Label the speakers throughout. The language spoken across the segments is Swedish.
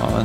Speaker 1: Ja,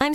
Speaker 2: I'm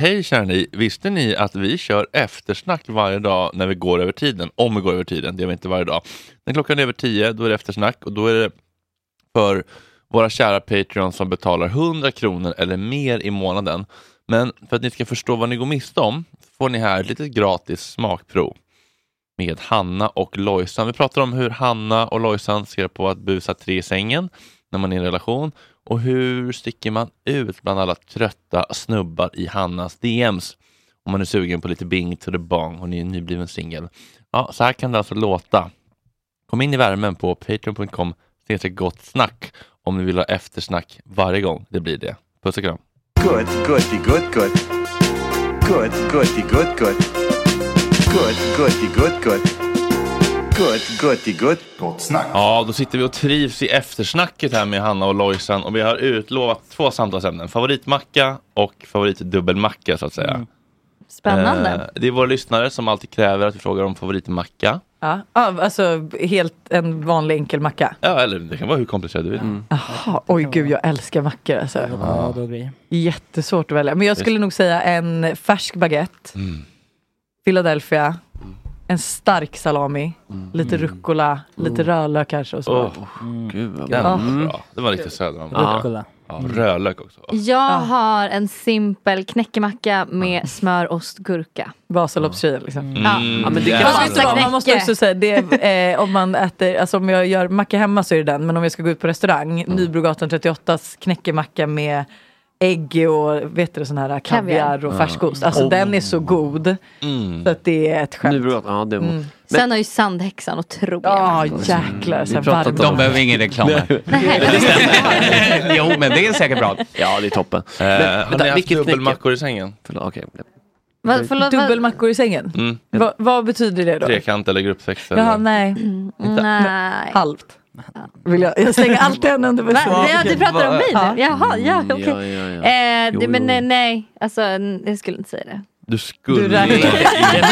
Speaker 1: Hej kära ni, visste ni att vi kör eftersnack varje dag när vi går över tiden? Om vi går över tiden, det gör vi inte varje dag. När klockan är över 10, då är det eftersnack och då är det för våra kära Patreons som betalar 100 kronor eller mer i månaden. Men för att ni ska förstå vad ni går miste om får ni här ett litet gratis smakprov med Hanna och Lojsan. Vi pratar om hur Hanna och Lojsan ser på att busa tre i sängen när man är i en relation och hur sticker man ut bland alla trötta snubbar i Hannas DMs om man är sugen på lite bing to the bong och ni är nybliven singel. Ja, så här kan det alltså låta. Kom in i värmen på patreon.com snedstreck gott snack om ni vill ha eftersnack varje gång det blir det. Puss och kram.
Speaker 3: Good, good, good, good. Good, goody, good, good. Good, goody, good, good. Good, goody, good. Gott snack.
Speaker 1: Ja, då sitter vi och trivs i eftersnacket här med Hanna och Lojsan och vi har utlovat två samtalsämnen. Favoritmacka och favoritdubbelmacka så att säga.
Speaker 4: Spännande.
Speaker 1: Eh, det är våra lyssnare som alltid kräver att vi frågar om favoritmacka.
Speaker 4: Ja. ja, alltså helt en vanlig enkel macka.
Speaker 1: Ja, eller det kan vara hur komplicerat du vill.
Speaker 5: Mm.
Speaker 4: Jaha, oj gud jag älskar mackor alltså.
Speaker 6: Ja, då blir
Speaker 4: Jättesvårt att välja. Men jag skulle nog säga en färsk baguette,
Speaker 1: Mm.
Speaker 4: Philadelphia, en stark salami, lite rucola, lite rödlök kanske och så.
Speaker 1: Åh,
Speaker 6: Mm.
Speaker 1: gud vad bra. bra. Det
Speaker 5: Mm.
Speaker 1: var riktigt söder om. Ja.
Speaker 6: rucola.
Speaker 1: rödlök också.
Speaker 7: Jag har en simpel knäckemacka med smör, ost, gurka.
Speaker 4: Basalopsril liksom.
Speaker 7: Ja.
Speaker 1: men
Speaker 7: det kan
Speaker 4: Fast
Speaker 7: vara
Speaker 4: vet du vad, man måste
Speaker 7: knäcke.
Speaker 4: också säga det, eh, om man äter, alltså om jag gör macka hemma så är det den, men om jag ska gå ut på restaurang,
Speaker 1: Mm.
Speaker 4: Nybrogatan 38s knäckemacka med ägg och vet du, sån här kaviar och färskost. Alltså
Speaker 1: Mm.
Speaker 4: den är så god. Så att det är ett skämt.
Speaker 8: Nybrogatan, ja det är mm.
Speaker 7: Sen har ju Sandhäxan otroliga
Speaker 4: Ja
Speaker 7: mackor.
Speaker 4: jäklar, så här
Speaker 8: pratat om
Speaker 4: varm.
Speaker 8: det.
Speaker 5: behöver ingen reklam här. jo, men det är säkert bra.
Speaker 8: Ja det är toppen.
Speaker 1: Eh, har ni haft
Speaker 8: vilket knäcke?
Speaker 1: dubbelmackor i sängen?
Speaker 8: Förlåt, okej.
Speaker 7: Va, förlåt, va,
Speaker 4: Dubbelmackor i sängen?
Speaker 1: Mm.
Speaker 4: Va, vad betyder det då?
Speaker 1: Trekant eller gruppsex? Eller?
Speaker 4: Jaha,
Speaker 7: Mm.
Speaker 4: nej.
Speaker 7: nej.
Speaker 4: Halvt. Vill jag, jag slänger alltid en under
Speaker 7: Va?
Speaker 4: besvar.
Speaker 7: Ja, du pratar om mig nu? Jaha, ja okej.
Speaker 8: Mm, Ja, ja, ja.
Speaker 7: Eh,
Speaker 8: Jo,
Speaker 7: det- men
Speaker 8: jo.
Speaker 7: nej, nej, alltså n- jag skulle inte säga det.
Speaker 1: Du skulle
Speaker 4: Du räknar-
Speaker 1: inte säga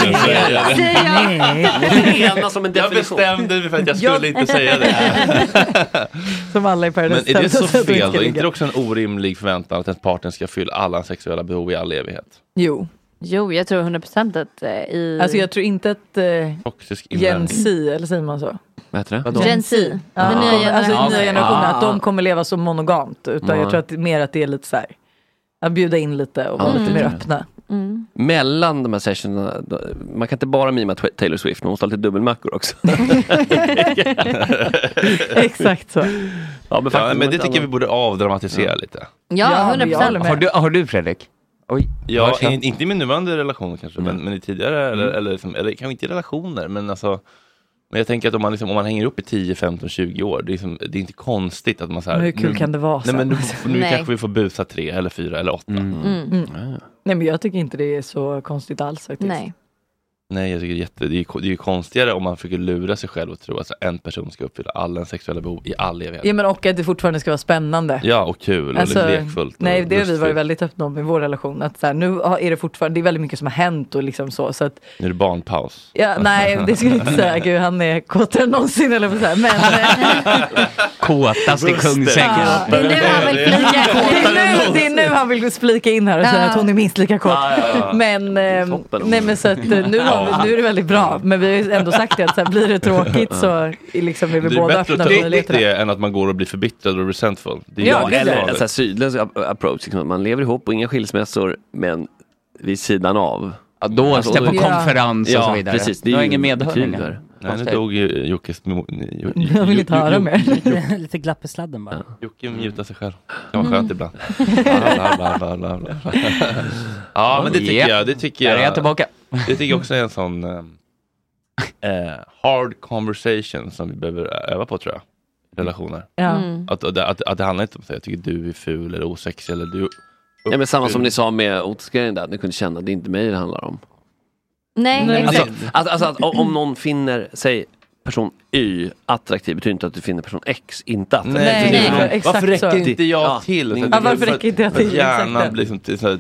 Speaker 1: det.
Speaker 7: Säger jag,
Speaker 8: Enas om en
Speaker 1: Jag
Speaker 8: definition.
Speaker 1: bestämde mig för att jag skulle inte säga det.
Speaker 4: Som alla i Paradise
Speaker 1: Men är det
Speaker 4: Hotel
Speaker 1: så
Speaker 4: sa att vi
Speaker 1: fel
Speaker 4: ska
Speaker 1: då? Är
Speaker 4: ligga.
Speaker 1: inte det också en orimlig förväntan att ens partner ska fylla alla sexuella behov i all evighet?
Speaker 4: Jo,
Speaker 7: jo, jag tror 100% att eh, i...
Speaker 4: alltså jag tror inte att eh,
Speaker 1: Toxisk invändning.
Speaker 4: Jensi, eller säger man så?
Speaker 8: Vad heter det?
Speaker 7: Gen
Speaker 4: Gen
Speaker 7: Z.
Speaker 4: Ja,
Speaker 7: Den nya
Speaker 4: kommer- alltså
Speaker 7: generationen.
Speaker 4: den nya generationen, att de kommer leva så monogamt. Utan jag
Speaker 8: Ja.
Speaker 4: tror att det- mer att det är lite så här, att bjuda in lite och vara
Speaker 8: Mm.
Speaker 4: lite mer öppna.
Speaker 7: Mm.
Speaker 8: Mellan de här sessionerna, då- man kan inte bara mima Tw- Taylor Swift, man måste ha lite dubbelmackor också.
Speaker 4: Exakt så.
Speaker 8: ja, men,
Speaker 1: Ja, men det tycker jag vi borde avdramatisera lite.
Speaker 4: Ja,
Speaker 7: Ja,
Speaker 4: men jag
Speaker 7: 100%.
Speaker 4: håller med.
Speaker 5: Har du, har du Fredrik? Oj.
Speaker 1: Ja,
Speaker 5: Varsågod.
Speaker 1: in, inte i min nuvarande relation kanske,
Speaker 8: Mm.
Speaker 1: men, men i tidigare, eller, eller, liksom, eller kanske inte i relationer, men alltså men jag tänker att om man, liksom, om man hänger upp i 10, 15, 20 år, det är, liksom, det är inte konstigt att man så här,
Speaker 4: Men hur kul
Speaker 1: nu,
Speaker 4: kan det vara
Speaker 1: Nej
Speaker 4: sen?
Speaker 1: men nu, nu
Speaker 7: Nej.
Speaker 1: kanske vi får busa tre eller fyra eller
Speaker 8: Mm.
Speaker 1: åtta.
Speaker 7: Mm.
Speaker 4: Mm. Nej men jag tycker inte det är så konstigt alls faktiskt.
Speaker 7: Nej.
Speaker 1: Nej, jag tycker det är, jätte, det, är, ju ko- det är ju konstigare om man försöker lura sig själv och tro att så här, en person ska uppfylla alla ens sexuella behov i all evighet.
Speaker 4: Ja men och att det fortfarande ska vara spännande. Alltså,
Speaker 1: Ja, och kul och lite lekfullt. och
Speaker 4: nej, det har vi
Speaker 1: lustigt.
Speaker 4: varit väldigt öppna om i vår relation. Att så här, nu har- är det fortfarande, det är väldigt mycket som har hänt och liksom så. så att,
Speaker 1: Nu är det barnpaus.
Speaker 4: ja, nej, det skulle jag inte säga. Gud, han är kåtare än någonsin eller så här. Men, eh,
Speaker 5: Kåtast i Kungsängen.
Speaker 7: Det är nu han vill
Speaker 4: Det
Speaker 7: flika.
Speaker 4: är, nu, det är nu han vill splika in här och säga
Speaker 7: Ja.
Speaker 4: att hon är minst lika kort. Men, ehm,
Speaker 8: Toppen.
Speaker 4: nej, men så att, eh, nu, har vi, nu är det väldigt bra. Men vi har ju ändå sagt det att så här, blir det tråkigt så är liksom, är
Speaker 1: Det
Speaker 4: vi
Speaker 1: är
Speaker 4: båda
Speaker 1: bättre
Speaker 4: öppna
Speaker 1: att ta
Speaker 4: för
Speaker 1: upp
Speaker 4: möjligheterna.
Speaker 1: det än att man går och blir förbittrad och resentful. Det är
Speaker 4: Ja, alltså,
Speaker 1: ju
Speaker 4: gud,
Speaker 8: Eller
Speaker 4: ja.
Speaker 8: en sån här sydländsk ap- approach, liksom, att man lever ihop och inga skilsmässor, men vid sidan av.
Speaker 5: Ja, då
Speaker 8: Alltså,
Speaker 5: sitta på
Speaker 4: då-
Speaker 5: konferens och
Speaker 8: Ja,
Speaker 5: så vidare.
Speaker 8: precis. Det
Speaker 5: Du har
Speaker 8: är ju
Speaker 5: ingen medhörning.
Speaker 8: betyder.
Speaker 5: här.
Speaker 1: Nej,
Speaker 4: alltså-
Speaker 1: nu dog ju Jockes... mo- Jo-
Speaker 4: Jag vill inte
Speaker 1: Jo-
Speaker 4: höra
Speaker 1: Jo-
Speaker 4: mer.
Speaker 6: Lite glapp i sladden bara.
Speaker 1: Jocke mutar sig själv. Det kan vara skönt ibland. Bla, bla, bla, bla, bla. Ja, men det tycker
Speaker 5: Yeah.
Speaker 1: jag. Det tycker
Speaker 5: Där är jag
Speaker 1: jag,
Speaker 5: tillbaka.
Speaker 1: det tycker jag också är en sån ehm, eh, hard conversation som vi behöver öva på tror jag. i Relationer.
Speaker 4: Ja.
Speaker 5: Mm.
Speaker 7: Mm.
Speaker 1: Att, att, att, att det handlar inte om att jag tycker du är ful eller osexig eller du...
Speaker 8: Ja, men samma som ni sa med Otis-grejen där, att ni kunde känna att det är inte mig det handlar om.
Speaker 7: Nej,
Speaker 8: Alltså,
Speaker 7: exakt.
Speaker 8: alltså, alltså att om om någon finner, säg person Y attraktiv, betyder inte att du finner person X inte attraktiv.
Speaker 4: Nej,
Speaker 1: Alltså, det är
Speaker 4: nej,
Speaker 1: någon-
Speaker 4: exakt
Speaker 1: varför räcker
Speaker 4: så.
Speaker 1: inte jag
Speaker 8: Ja.
Speaker 1: till?
Speaker 8: Ja,
Speaker 1: det-
Speaker 4: varför
Speaker 1: för-
Speaker 4: räcker inte jag
Speaker 1: för att
Speaker 4: till?
Speaker 1: Hjärnan
Speaker 4: Exakt.
Speaker 1: blir liksom till, så här,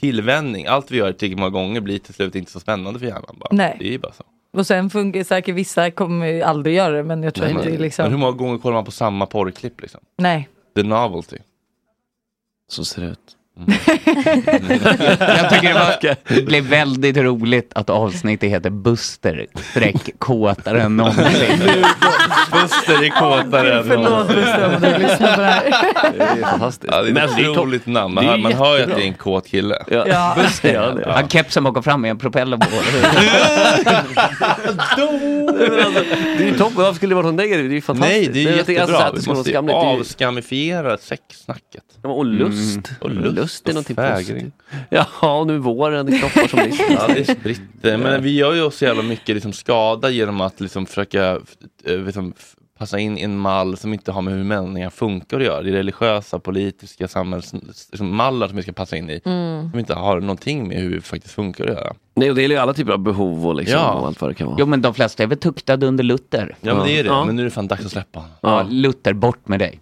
Speaker 1: tillvänjning. Allt vi gör tillräckligt många gånger blir till slut inte så spännande för hjärnan. Bara.
Speaker 4: Nej.
Speaker 1: Det är ju bara så.
Speaker 4: Och sen funkar säkert vissa kommer ju aldrig göra det men jag tror
Speaker 8: Nej,
Speaker 4: att det är
Speaker 1: Men hur
Speaker 4: liksom,
Speaker 1: många gånger kollar man på samma porrklipp liksom?
Speaker 4: nej.
Speaker 1: The novelty.
Speaker 8: Så ser det ut.
Speaker 5: Jag tycker det, var, det blev väldigt roligt att avsnittet heter Buster, streck kåtare än någonsin.
Speaker 1: Buster är kåtare än
Speaker 4: Förlåt
Speaker 1: någon.
Speaker 4: Buster om du lyssnar på det här.
Speaker 8: Det är fantastiskt.
Speaker 1: Ja, det
Speaker 8: Men
Speaker 1: är
Speaker 8: alltså, det är
Speaker 1: ett
Speaker 8: topp-
Speaker 1: otroligt namn.
Speaker 8: det är
Speaker 1: Man, man hör ju att
Speaker 8: jättebra.
Speaker 1: det är en kåt kille.
Speaker 8: Ja.
Speaker 4: Ja.
Speaker 8: Buster, ja, det.
Speaker 5: Han kepsen bakom fram med en propeller på
Speaker 8: Det är ju toppen, varför skulle det vara något negativt? Det är ju fantastiskt.
Speaker 1: Nej, det är
Speaker 8: Men
Speaker 1: ju
Speaker 8: jag tänker, alltså, så
Speaker 1: jättebra.
Speaker 8: att det
Speaker 1: Vi
Speaker 8: skulle vara
Speaker 1: måste ju
Speaker 8: skamligt. Det är ju-
Speaker 1: avskamifiera sexsnacket.
Speaker 8: Ja, Och lust.
Speaker 1: Mm, Och lust
Speaker 8: är
Speaker 1: och
Speaker 8: någonting
Speaker 1: fägring.
Speaker 8: positivt. Ja, nu är våren, det knoppar som list.
Speaker 1: Ja, det är spritt. Men vi gör ju oss så jävla mycket liksom, skada genom att liksom, försöka eh, liksom, f- passa in i en mall som inte har med hur människan funkar att göra. Det är religiösa, politiska, samhällsmallar som vi ska passa in i.
Speaker 5: Mm.
Speaker 1: Som inte har någonting med hur vi faktiskt funkar att göra.
Speaker 8: Nej, och det gäller ju alla typer av behov och, liksom,
Speaker 1: Ja.
Speaker 8: och allt vad det kan vara.
Speaker 5: Jo men de flesta är väl tuktade under Luther.
Speaker 1: Ja, men det är det.
Speaker 5: Ja.
Speaker 1: Men nu är det fan dags att släppa honom.
Speaker 5: Ja, Luther, bort med dig.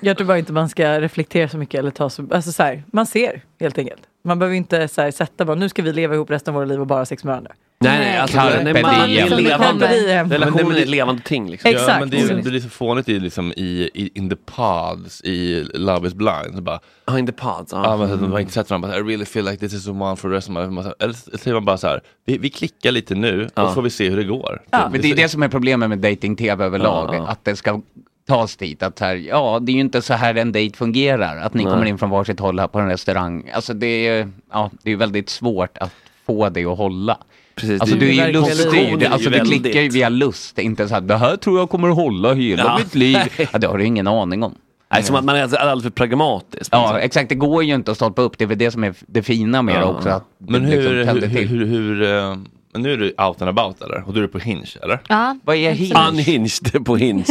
Speaker 4: Jag tror bara inte man ska reflektera så mycket. Eller ta så, alltså så här, man ser helt enkelt. Man behöver inte så här, sätta bara, nu ska vi leva ihop resten av våra liv och bara ha sex med varandra.
Speaker 8: Nej, nej, alltså,
Speaker 5: Carpe
Speaker 8: nej, man,
Speaker 5: diem.
Speaker 8: det är levande.
Speaker 4: Carpe diem.
Speaker 8: Relationen är ett levande ting. Liksom.
Speaker 1: Ja, men det, är, det är så fånigt i, liksom, i, i In the pods i Love is blind. Så bara,
Speaker 8: ah, in the pods, ja.
Speaker 1: men, så att De har inte sett varandra. bara, I really feel like this is the one for the rest of my life. Man så- Eller så säger man bara så här, vi, vi klickar lite nu och
Speaker 5: Ja.
Speaker 1: så får vi se hur det går. Typ.
Speaker 5: Ja. Men det är det som är problemet med dating-tv överlag, att det ska tas dit. Att här, ja, det är ju inte så här en dejt fungerar, att ni
Speaker 8: Nej.
Speaker 5: kommer in från varsitt håll här på en restaurang. Alltså det är ju ja, det är väldigt svårt att få det att hålla.
Speaker 8: Precis,
Speaker 5: alltså
Speaker 8: det är
Speaker 5: du
Speaker 8: ju
Speaker 5: är ju
Speaker 8: verkligen-
Speaker 5: luststyrd,
Speaker 8: det är ju
Speaker 5: alltså du
Speaker 8: väldigt-
Speaker 5: klickar ju via lust, inte så här, det här tror jag kommer att hålla hela
Speaker 8: Ja.
Speaker 5: mitt liv. Ja, det har du ingen aning om.
Speaker 8: Nej, som att man är alltså alldeles för pragmatisk. liksom. på något
Speaker 5: Ja,
Speaker 8: sätt.
Speaker 5: exakt, det går ju inte att stolpa upp, det är väl det som är det fina med det
Speaker 8: Ja.
Speaker 5: också. Att det
Speaker 1: Men hur,
Speaker 5: liksom
Speaker 1: hur,
Speaker 5: tänder
Speaker 1: hur,
Speaker 5: till.
Speaker 1: hur, hur, eh, men nu är du out and about eller? Och du är på Hinge eller?
Speaker 7: Ja.
Speaker 5: Vad är
Speaker 7: absolut.
Speaker 8: Unhinged på Hinge.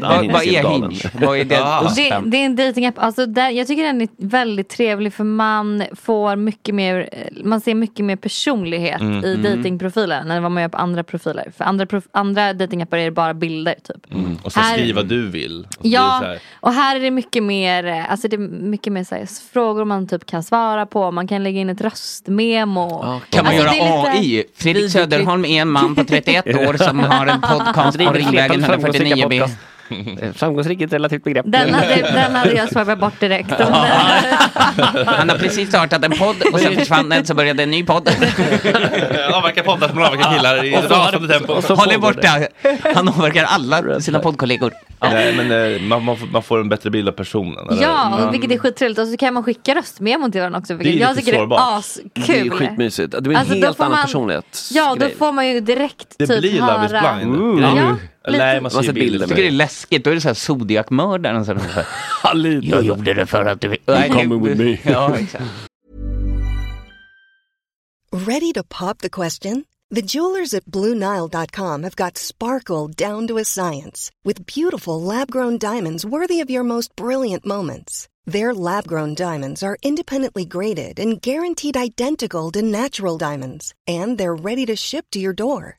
Speaker 1: Vad- vad är Hinge?
Speaker 5: Vad är det?
Speaker 7: Det, det är en datingapp. Alltså där, jag tycker den är väldigt trevlig för man får mycket mer, man ser mycket mer personlighet
Speaker 9: Mm.
Speaker 7: i
Speaker 9: Mm.
Speaker 7: datingprofilen än vad man gör på andra profiler. För andra, prof, andra datingappar är det bara bilder typ.
Speaker 1: Mm. Och så
Speaker 7: Här-
Speaker 1: skriv vad du vill. Och så blir det så
Speaker 7: Ja,
Speaker 1: här,
Speaker 7: och här är det mycket mer, eh, alltså det är mycket mer så här, s- frågor man typ kan svara på, man kan lägga in ett röstmemo.
Speaker 5: Kan man
Speaker 7: Alltså, det är
Speaker 5: göra
Speaker 7: lite-
Speaker 5: AI? Fredrik Söderholm är en man på 31 år som har en podcast på
Speaker 7: Driver
Speaker 5: Ringvägen
Speaker 7: Flertal
Speaker 5: 149B.
Speaker 8: Framgångsrik är ett Eh, relativt begrepp.
Speaker 7: Den hade, den hade jag swipat bort direkt.
Speaker 5: Han har precis startat en podd och sen försvann den så började en ny podd.
Speaker 1: Avverka poddar som avverkar killar i
Speaker 5: Och
Speaker 1: ett
Speaker 5: så-
Speaker 1: rasande tempo.
Speaker 5: och så Håll er pågår det. Han avverkar alla sina poddkollegor.
Speaker 1: Nej, men eh, man, man, får, man får en bättre bild av personen. eller?
Speaker 7: Ja,
Speaker 1: Mm.
Speaker 7: och vilket är skittrevligt. Och så kan man skicka röstmemon till varandra också. Vilket
Speaker 1: Det är
Speaker 7: jag
Speaker 1: lite
Speaker 7: tycker är
Speaker 1: sårbart.
Speaker 7: askul.
Speaker 8: Det är ju skitmysigt. Det blir en
Speaker 7: Alltså, då
Speaker 8: helt
Speaker 7: får
Speaker 8: annan personlighet.
Speaker 7: Ja, då
Speaker 8: grej.
Speaker 7: får man ju direkt
Speaker 5: Det
Speaker 7: typ
Speaker 5: blir
Speaker 7: höra.
Speaker 5: Love is blind.
Speaker 7: Ooh.
Speaker 5: Eller
Speaker 7: Ja,
Speaker 5: hur?
Speaker 7: lite.
Speaker 5: man ser bilder. Jag tycker det är läskigt. Då är det så här Zodiac-mördaren. som är så här, Jag gjorde det för att du... Nej, det-
Speaker 10: coming with me.
Speaker 5: Ja, exakt.
Speaker 11: Ready to pop the question? The jewelers at BlueNile.com have got sparkle down to a science with beautiful lab grown diamonds worthy of your most brilliant moments. Their lab grown diamonds are independently graded and guaranteed identical to natural diamonds, and they're ready to ship to your door.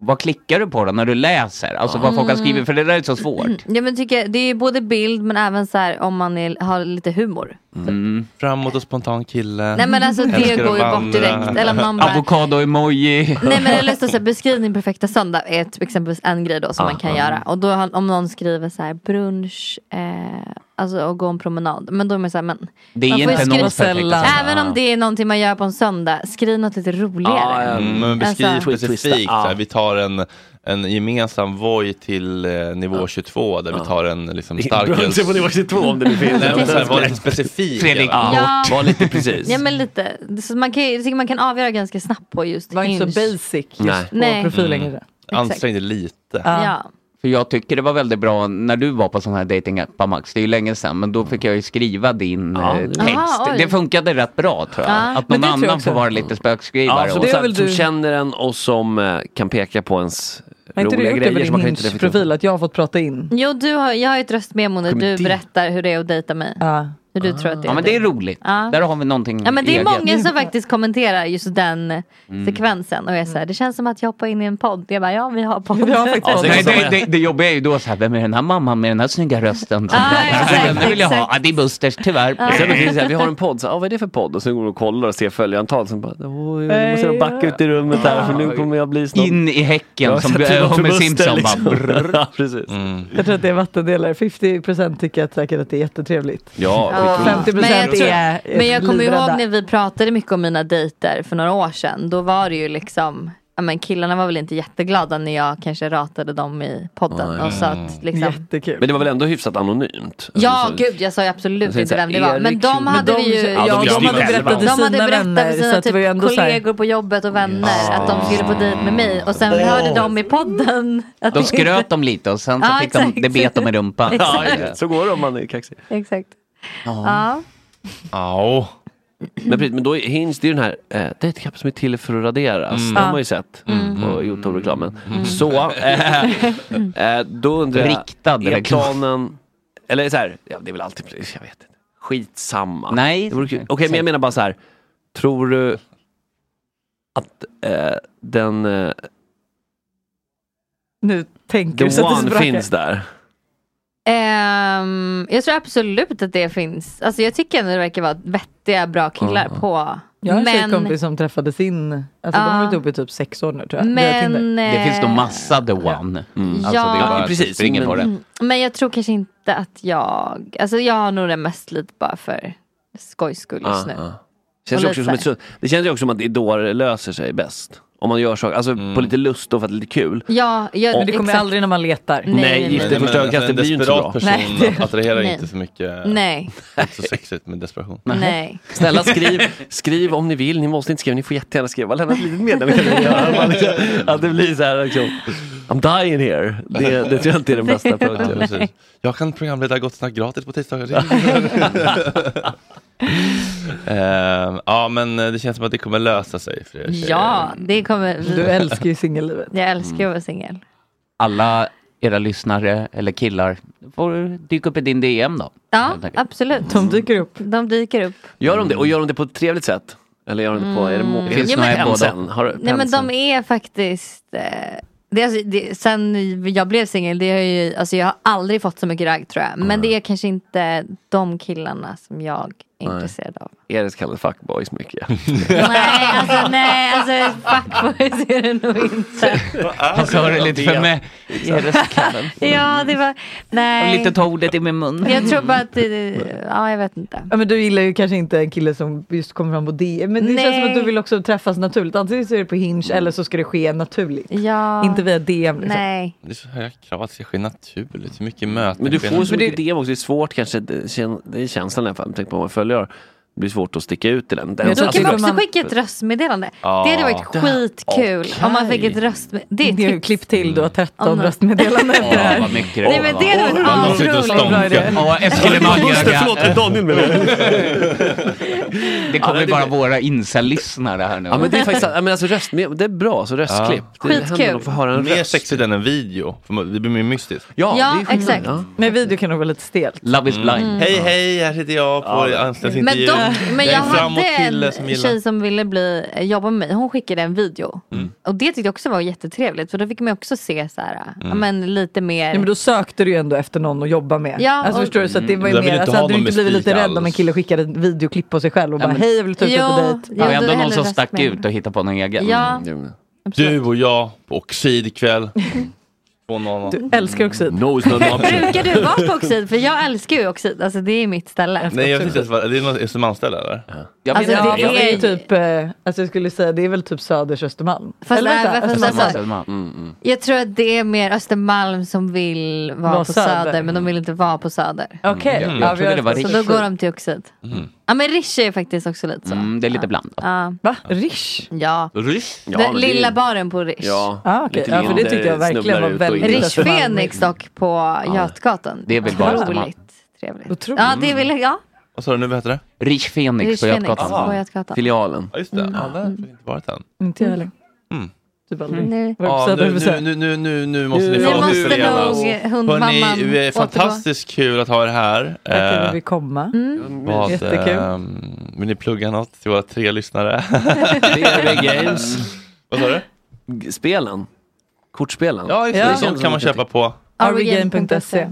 Speaker 5: Vad klickar du på då när du läser? Alltså vad folk har
Speaker 4: Mm.
Speaker 5: skrivit, för det där är så svårt.
Speaker 7: Ja, men tycker jag, det är ju både bild men även så här om man är, har lite humor.
Speaker 5: Mm.
Speaker 1: Framåt och spontan kille.
Speaker 7: Nej, men alltså, det
Speaker 1: Älskar att
Speaker 7: går ju bort
Speaker 1: vandra.
Speaker 7: direkt. Eller man bara-
Speaker 5: Avokado-emoji.
Speaker 7: Nej men eller så här, beskriv din perfekta söndag är ett, exempelvis en grej då som
Speaker 5: Ah,
Speaker 7: man kan
Speaker 5: ah.
Speaker 7: göra. Och då har- om någon skriver så här brunch, eh, alltså och gå en promenad. Men då är man så här, men.
Speaker 5: Det är
Speaker 7: man får ju
Speaker 5: inte
Speaker 7: skriva-
Speaker 5: någons perfekta söndag.
Speaker 7: Även om
Speaker 5: Ah.
Speaker 7: det är någonting man gör på en söndag, skriv något lite roligare.
Speaker 1: Mm, men beskriv
Speaker 7: Alltså-
Speaker 1: specifikt, så här, vi tar en, en gemensam voj till eh, nivå 22 där vi tar en liksom, stark
Speaker 8: Brunchen på nivå 22 om det nu finns.
Speaker 1: Nej, men så här, var lite specifik.
Speaker 8: Fredrik,
Speaker 1: Ja.
Speaker 7: Ja.
Speaker 8: var lite precis.
Speaker 7: Ja men lite, så man kan, ju- jag tycker man kan avgöra ganska snabbt på just Var
Speaker 4: inte så
Speaker 7: basic
Speaker 5: Mm.
Speaker 4: just på profilen kanske.
Speaker 1: Ansträng dig lite.
Speaker 7: Ja.
Speaker 5: För jag tycker det var väldigt bra när du var på sån här datingappar Max, det är ju länge sedan, men då fick jag ju skriva
Speaker 8: Mm,
Speaker 5: din eh, text.
Speaker 8: Aha, oj.
Speaker 5: det funkade rätt bra tror jag.
Speaker 8: Ja.
Speaker 5: Att
Speaker 8: Men
Speaker 5: någon
Speaker 8: det tror jag
Speaker 5: annan
Speaker 8: också.
Speaker 5: får vara lite spökskrivare.
Speaker 8: Ja, som,
Speaker 5: och-
Speaker 8: så här, som känner en och som eh, kan peka på ens
Speaker 4: Har inte du
Speaker 8: roliga
Speaker 4: gjort det över
Speaker 8: grejer.
Speaker 4: din
Speaker 8: som man kan inte reflektera
Speaker 4: Hinge-profil att jag har fått prata in?
Speaker 7: Jo, du har, jag har ju ett röstmemo när
Speaker 5: Kommer
Speaker 7: du
Speaker 5: det?
Speaker 7: berättar hur det är att dejta mig. Hur du tror att det är.
Speaker 5: Ja men det är roligt.
Speaker 7: Ja.
Speaker 5: Där har vi någonting
Speaker 7: Ja men Mm. det är
Speaker 5: eget.
Speaker 7: många som faktiskt kommenterar just den sekvensen och jag är såhär, det känns som att jag hoppar in i en podd. Jag bara, ja vi har podd.
Speaker 5: Ja, nej, det, det, det jobbiga är ju då så här, vem är den här mamman med den här snygga rösten?
Speaker 7: Ah,
Speaker 5: den vill jag ha, ah, det är Busters tyvärr.
Speaker 7: Ja.
Speaker 8: Sen finns det så här, vi har en podd, så, ah, vad är det för podd? Och så går du och kollar och ser följantal. Sen bara, oj, nu måste jag backa ut i rummet här för nu kommer jag bli snobb.
Speaker 5: In i häcken
Speaker 8: Ja,
Speaker 5: som
Speaker 8: jag sätter
Speaker 5: Homer
Speaker 8: något förluster,
Speaker 5: Simpson bara.
Speaker 8: Brrr. Ja, Precis.
Speaker 4: Jag tror att det är vattendelare. 50% tycker jag säkert att det är jättetrevligt.
Speaker 8: Ja,
Speaker 7: Ja.
Speaker 4: 50%
Speaker 7: men jag, tror-
Speaker 4: är
Speaker 7: men jag kommer
Speaker 4: livrädda.
Speaker 7: ihåg när vi pratade mycket om mina dejter för några år sedan. Då var det ju liksom, ja men killarna var väl inte jätteglada när jag kanske ratade dem i podden.
Speaker 8: Nej.
Speaker 7: Och så att, liksom,
Speaker 4: Jättekul.
Speaker 8: Men det var väl ändå hyfsat anonymt?
Speaker 7: Ja,
Speaker 8: Alltså, så-
Speaker 7: gud jag sa ju absolut
Speaker 8: Alltså,
Speaker 7: inte
Speaker 8: så här,
Speaker 7: vem det var. Men
Speaker 8: Erik-
Speaker 7: de
Speaker 8: Men
Speaker 7: hade
Speaker 8: de-
Speaker 7: vi ju,
Speaker 8: Ja, de Ja, de visste ju hade själva. berättat
Speaker 7: de
Speaker 8: till
Speaker 7: hade
Speaker 4: sina
Speaker 7: berättat
Speaker 4: vänner,
Speaker 7: för
Speaker 4: så
Speaker 7: sina
Speaker 4: att det
Speaker 7: typ
Speaker 4: var ju ändå så här-
Speaker 7: kollegor på jobbet och vänner att de skulle på dejt med mig. Och sen hörde de i podden. Att
Speaker 5: De
Speaker 7: det inte-
Speaker 5: skröt dem lite och sen så
Speaker 7: Ja,
Speaker 5: fick de,
Speaker 7: exakt.
Speaker 5: det bet dem i rumpan.
Speaker 7: Exakt.
Speaker 8: Så går det om man är kaxig.
Speaker 7: Exakt. Ja.
Speaker 8: Ja. Men, precis, men då är Hinge, det är ju den här eh, dejtingappen som är till för att raderas.
Speaker 7: Mm.
Speaker 8: Det har
Speaker 7: Ja.
Speaker 8: man ju sett
Speaker 7: Mm.
Speaker 8: på Youtube-reklamen. Så, eh, eh, då undrar jag.
Speaker 5: Riktad
Speaker 8: är
Speaker 5: reklam.
Speaker 8: planen, eller så här, ja, det är väl alltid, jag vet inte. Skitsamma.
Speaker 5: Nej.
Speaker 8: Det vore kul. Okej, men jag menar bara så här. Tror du att eh, den, eh,
Speaker 4: Nu tänker du
Speaker 8: the
Speaker 4: så att det
Speaker 8: one
Speaker 4: sprakar.
Speaker 8: finns där?
Speaker 7: Ehm, jag tror absolut att det finns. Alltså jag tycker ändå det verkar vara vettiga, bra killar på.
Speaker 4: Jag har en
Speaker 7: Men,
Speaker 4: tjejkompis som träffade sin, alltså de har
Speaker 7: Ja.
Speaker 4: varit ihop i typ sex år nu tror jag.
Speaker 7: Men, eh,
Speaker 4: via Tinder.
Speaker 7: Det finns nog
Speaker 5: massa the one.
Speaker 8: Mm.
Speaker 7: Alltså, det är Ja. bara-
Speaker 5: precis, springer på det.
Speaker 7: Mm, men jag tror kanske inte att jag, alltså jag har nog det mest lite bara för skojs skull
Speaker 8: Ja,
Speaker 7: just nu.
Speaker 8: ja.
Speaker 7: Och
Speaker 8: Känns det, också som
Speaker 7: lite
Speaker 8: ett, sunt- det känns ju också som att det är då det löser sig bäst. Om man gör saker, alltså
Speaker 7: Mm.
Speaker 8: på lite lust och för att det är lite kul.
Speaker 7: Ja, jag,
Speaker 4: men det kommer
Speaker 7: exakt.
Speaker 4: aldrig när man letar.
Speaker 8: Nej, Nej, gift i
Speaker 1: men
Speaker 8: första ögonkastet
Speaker 1: en
Speaker 8: blir ju inte
Speaker 1: desperat
Speaker 8: så bra.
Speaker 1: person
Speaker 4: Nej.
Speaker 1: attraherar ju
Speaker 7: Nej.
Speaker 1: inte så mycket.
Speaker 7: Nej.
Speaker 1: Det är Inte så sexigt med desperation.
Speaker 7: Nej.
Speaker 8: Snälla skriv, skriv om ni vill, ni måste inte skriva, ni får jättegärna skriva. Lämna ett litet meddelande. Att det blir så här liksom, I'm dying here. Det, det tror jag inte är den bästa
Speaker 1: Ja,
Speaker 8: punkten.
Speaker 1: precis. jag kan programleda Gott Snack gratis på tisdagar. Ehm, ja men det känns som att det kommer lösa sig för er tjejer.
Speaker 7: Ja, det kommer.
Speaker 4: Du älskar ju singellivet.
Speaker 7: Jag älskar att vara singel.
Speaker 5: Alla era lyssnare eller killar får dyka upp i din DM då.
Speaker 7: Ja, absolut.
Speaker 4: De dyker upp.
Speaker 7: De dyker upp.
Speaker 8: Gör de det? Och gör de det på ett trevligt sätt? Eller gör de det på, är det, må-
Speaker 7: Mm.
Speaker 8: är det
Speaker 7: Ja, men-
Speaker 8: penseln? Har du
Speaker 7: Nej men
Speaker 8: penseln?
Speaker 7: de är faktiskt eh, det, är alltså, det, Sen jag blev singel, det har ju, alltså, jag har aldrig fått så mycket ragg tror jag. Men det är kanske inte de killarna som jag är
Speaker 8: Nej.
Speaker 7: intresserad av.
Speaker 8: Är det så kallade fuckboys mycket?
Speaker 7: Nej, alltså nej, alltså fuckboys är det nog inte.
Speaker 5: Han sa det lite för mig. Är det så kallat?
Speaker 7: Ja, det var,
Speaker 5: Och
Speaker 7: nej.
Speaker 5: lite ta ordet i min mun.
Speaker 7: Jag tror bara att, det, ja jag vet inte.
Speaker 4: Ja, men du gillar ju kanske inte en kille som just kommer fram på DM. Men det känns
Speaker 7: Nej. Mm.
Speaker 4: som att du vill också träffas naturligt. Antingen så är det på Hinge eller så ska det ske naturligt.
Speaker 7: Ja.
Speaker 4: Inte via DM. Liksom.
Speaker 7: Nej.
Speaker 1: Det är så höga krav att det ska ske naturligt. Så mycket möten.
Speaker 8: Men du
Speaker 1: sker
Speaker 8: får så
Speaker 1: naturligt.
Speaker 8: mycket DM också, det är svårt kanske, det kän- det är känslan i alla fall, med tanke på vad man följer. Det blir svårt att sticka ut i den. den
Speaker 7: Då kan man också
Speaker 4: man-
Speaker 7: skicka ett röstmeddelande.
Speaker 8: Ja.
Speaker 7: Det hade varit
Speaker 8: Det-
Speaker 7: skitkul om man fick ett röstmeddelande. Det är ett
Speaker 4: Det är ju
Speaker 7: tips.
Speaker 4: klipp till, du
Speaker 5: Mm.
Speaker 4: har 13
Speaker 7: Om-
Speaker 4: röstmeddelanden efter det här.
Speaker 5: vad mycket det
Speaker 7: Nej, men det hade varit
Speaker 1: Alla
Speaker 7: askul.
Speaker 1: sitter och stånkar.
Speaker 5: Ja, Eskilemaggöga.
Speaker 8: Daniel med mig.
Speaker 5: Det
Speaker 8: Ja,
Speaker 5: kommer
Speaker 8: det-
Speaker 5: ju bara våra incel-lyssnare här nu.
Speaker 8: Ja men det är faktiskt, ja, men alltså röst, det är bra, så röstklipp. Det händer
Speaker 7: Skitkul.
Speaker 8: nog att få höra en
Speaker 1: Mer
Speaker 8: röst.
Speaker 1: sexigt än en video. För Det blir mer mystiskt.
Speaker 8: Ja,
Speaker 7: Ja,
Speaker 8: det är skillnad.
Speaker 7: exakt.
Speaker 8: Ja. Mm.
Speaker 4: Men video kan nog vara lite stelt.
Speaker 5: Love is blind.
Speaker 1: Hej hej, här sitter jag på
Speaker 8: Ja.
Speaker 7: Men,
Speaker 1: anställningsintervju.
Speaker 7: dock, men jag,
Speaker 1: är
Speaker 7: hade
Speaker 1: framåtkille som
Speaker 7: en
Speaker 1: gillar-
Speaker 7: tjej som ville bli, jobba med mig. Hon skickade en video. Och det tyckte jag också var jättetrevligt. För då fick man också se så här, ja, men lite mer.
Speaker 4: Ja, men då sökte du ju ändå efter någon att jobba med.
Speaker 7: Ja,
Speaker 4: alltså,
Speaker 7: och-
Speaker 4: förstår du? Så att det var ju
Speaker 1: Jag Mm.
Speaker 4: mer,
Speaker 1: vill inte
Speaker 4: alltså,
Speaker 1: ha
Speaker 4: hade du
Speaker 1: någon
Speaker 4: inte blivit lite
Speaker 1: mystik
Speaker 4: rädd om en
Speaker 1: alls.
Speaker 4: kille skickade en videoklipp på sig själv och bara
Speaker 8: men-
Speaker 4: hej jag vill ta ut dig på
Speaker 7: Ja,
Speaker 4: dejt.
Speaker 7: jo,
Speaker 5: Ja,
Speaker 7: då
Speaker 5: ändå
Speaker 7: är
Speaker 5: någon
Speaker 7: det
Speaker 5: som
Speaker 7: röst
Speaker 5: stack
Speaker 7: med.
Speaker 5: ut och hittade på någon egen. Mm.
Speaker 7: Ja,
Speaker 8: Mm.
Speaker 1: Du och jag på oxidkväll. På någon.
Speaker 4: Du älskar också
Speaker 1: Mm.
Speaker 8: No is not an option.
Speaker 7: Brukar du vara på Oxid? För jag älskar ju Oxid. Alltså det är mitt ställe.
Speaker 1: Nej jag vet inte ens vad, är det någon som anställer eller?
Speaker 5: Jag
Speaker 7: Alltså,
Speaker 5: menar,
Speaker 7: det
Speaker 5: jag-
Speaker 4: Det är
Speaker 7: är-
Speaker 4: typ, eh, alltså jag skulle säga det är väl typ Söders Östermalm.
Speaker 7: Fast
Speaker 4: Eller vänta,
Speaker 7: även- fast
Speaker 4: Östermalm.
Speaker 7: alltså-
Speaker 5: Selma. Mm, mm.
Speaker 7: Jag tror att det är mer Östermalm som vill vara
Speaker 4: Var
Speaker 7: på
Speaker 4: söder.
Speaker 7: söder. Men de vill inte vara på Söder.
Speaker 4: Okej,
Speaker 5: Mm.
Speaker 4: ja,
Speaker 5: Jag
Speaker 4: vi
Speaker 5: trodde
Speaker 4: har-
Speaker 5: det var
Speaker 7: Så då går de till Oxid. Ja men Riche är faktiskt också lite så.
Speaker 5: Mm, det är lite blandat.
Speaker 7: Ja.
Speaker 4: Va? Rish?
Speaker 7: ja.
Speaker 1: Ryss?
Speaker 8: Ja,
Speaker 7: Den
Speaker 8: men det är-
Speaker 7: lilla baren på Riche.
Speaker 8: Ja,
Speaker 4: Ah, okej.
Speaker 8: lite
Speaker 4: Ja, för det
Speaker 8: linder,
Speaker 4: tyckte jag verkligen
Speaker 1: eh,
Speaker 8: snubblar
Speaker 4: var
Speaker 8: ut och
Speaker 4: väldigt
Speaker 7: Rich Phoenix dock på Götgatan.
Speaker 5: Det är väl bara Östermalm.
Speaker 7: Otroligt trevligt. Ja, det vill ja.
Speaker 1: Vad sa du nu, vad heter
Speaker 5: det? Rich Phoenix
Speaker 7: Rich
Speaker 5: på
Speaker 7: Phoenix
Speaker 5: Götgatan.
Speaker 7: på Götgatan. Filialen.
Speaker 1: Ja, just det. Ja, där har vi inte varit än.
Speaker 4: Inte jag heller.
Speaker 1: Mm.
Speaker 4: Typ
Speaker 7: Mm. Nej.
Speaker 4: aldrig.
Speaker 1: Ja, nu, nu, nu, nu, nu, nu måste ni
Speaker 7: Nu
Speaker 1: fan
Speaker 7: måste
Speaker 1: förenas.
Speaker 7: nog
Speaker 1: Hörni,
Speaker 7: hundmamman
Speaker 1: det är eh, fantastiskt kul att ha er här.
Speaker 4: Tack för att
Speaker 1: Eh,
Speaker 4: vi
Speaker 7: Mm.
Speaker 4: komma.
Speaker 1: vad,
Speaker 4: Jättekul.
Speaker 1: ehm, vill ni plugga något till våra tre lyssnare?
Speaker 8: TV Games.
Speaker 1: Vad sa du?
Speaker 8: Spelen. Kortspelen.
Speaker 1: Ja, just det.
Speaker 8: Det
Speaker 1: Sånt
Speaker 8: känns
Speaker 1: kan man
Speaker 8: lite-
Speaker 1: köpa på
Speaker 7: E.
Speaker 4: Arwegame.se.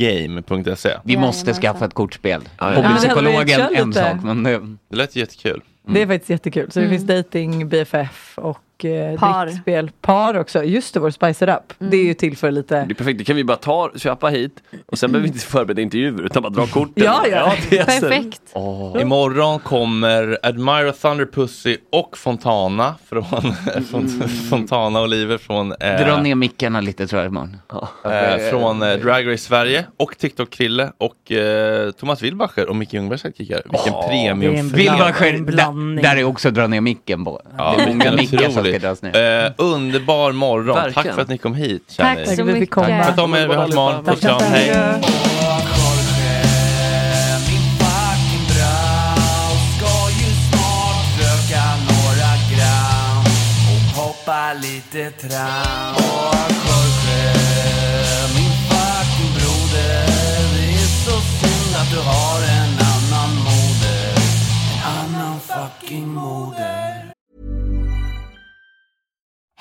Speaker 1: arwegame.se.
Speaker 5: Vi måste skaffa ett kortspel.
Speaker 4: Ja, det hade vi- kör lite.
Speaker 1: men nu. Det lät jättekul.
Speaker 4: Det är faktiskt jättekul. Så det
Speaker 7: Mm.
Speaker 4: finns dating, BFF och eh,
Speaker 7: Par.
Speaker 4: drickspel. Par också. Just det, vår Spice It Up. Det är ju till för lite
Speaker 8: Det är perfekt, det kan vi bara ta, köpa hit och sen behöver vi inte förbereda intervjuer utan bara dra korten.
Speaker 4: Ja, ja.
Speaker 8: det är så.
Speaker 1: Imorgon kommer Admira Thunderpussy och Fontana från från- Fontana Oliver från, eh,
Speaker 5: Dra ner mickarna lite tror jag imorgon.
Speaker 1: eh, från eh, Drag Race Sverige och TikTok-Krille och eh, Thomas Wilbacher och Micke Ljungberg ska kicka. Vilken
Speaker 5: Ja.
Speaker 1: premium.
Speaker 5: Wilbacher, där, där är också dra ner micken på.
Speaker 1: Ja,
Speaker 5: Det är Många
Speaker 1: vilken
Speaker 5: mickar som ska
Speaker 1: otrolig.
Speaker 5: dras ner.
Speaker 1: Eh, underbar morgon. Tack
Speaker 5: Verkligen.
Speaker 1: för att ni kom hit.
Speaker 5: Tack
Speaker 1: ni.
Speaker 5: så Tack för att vi mycket. fick komma.
Speaker 1: Sköt om er. Vi hörs imorgon. Puss och kram. Hej.
Speaker 9: Hoppa lite tram Och Jorge, min fucking broder Det är så synd att du har en annan moder En annan fucking moder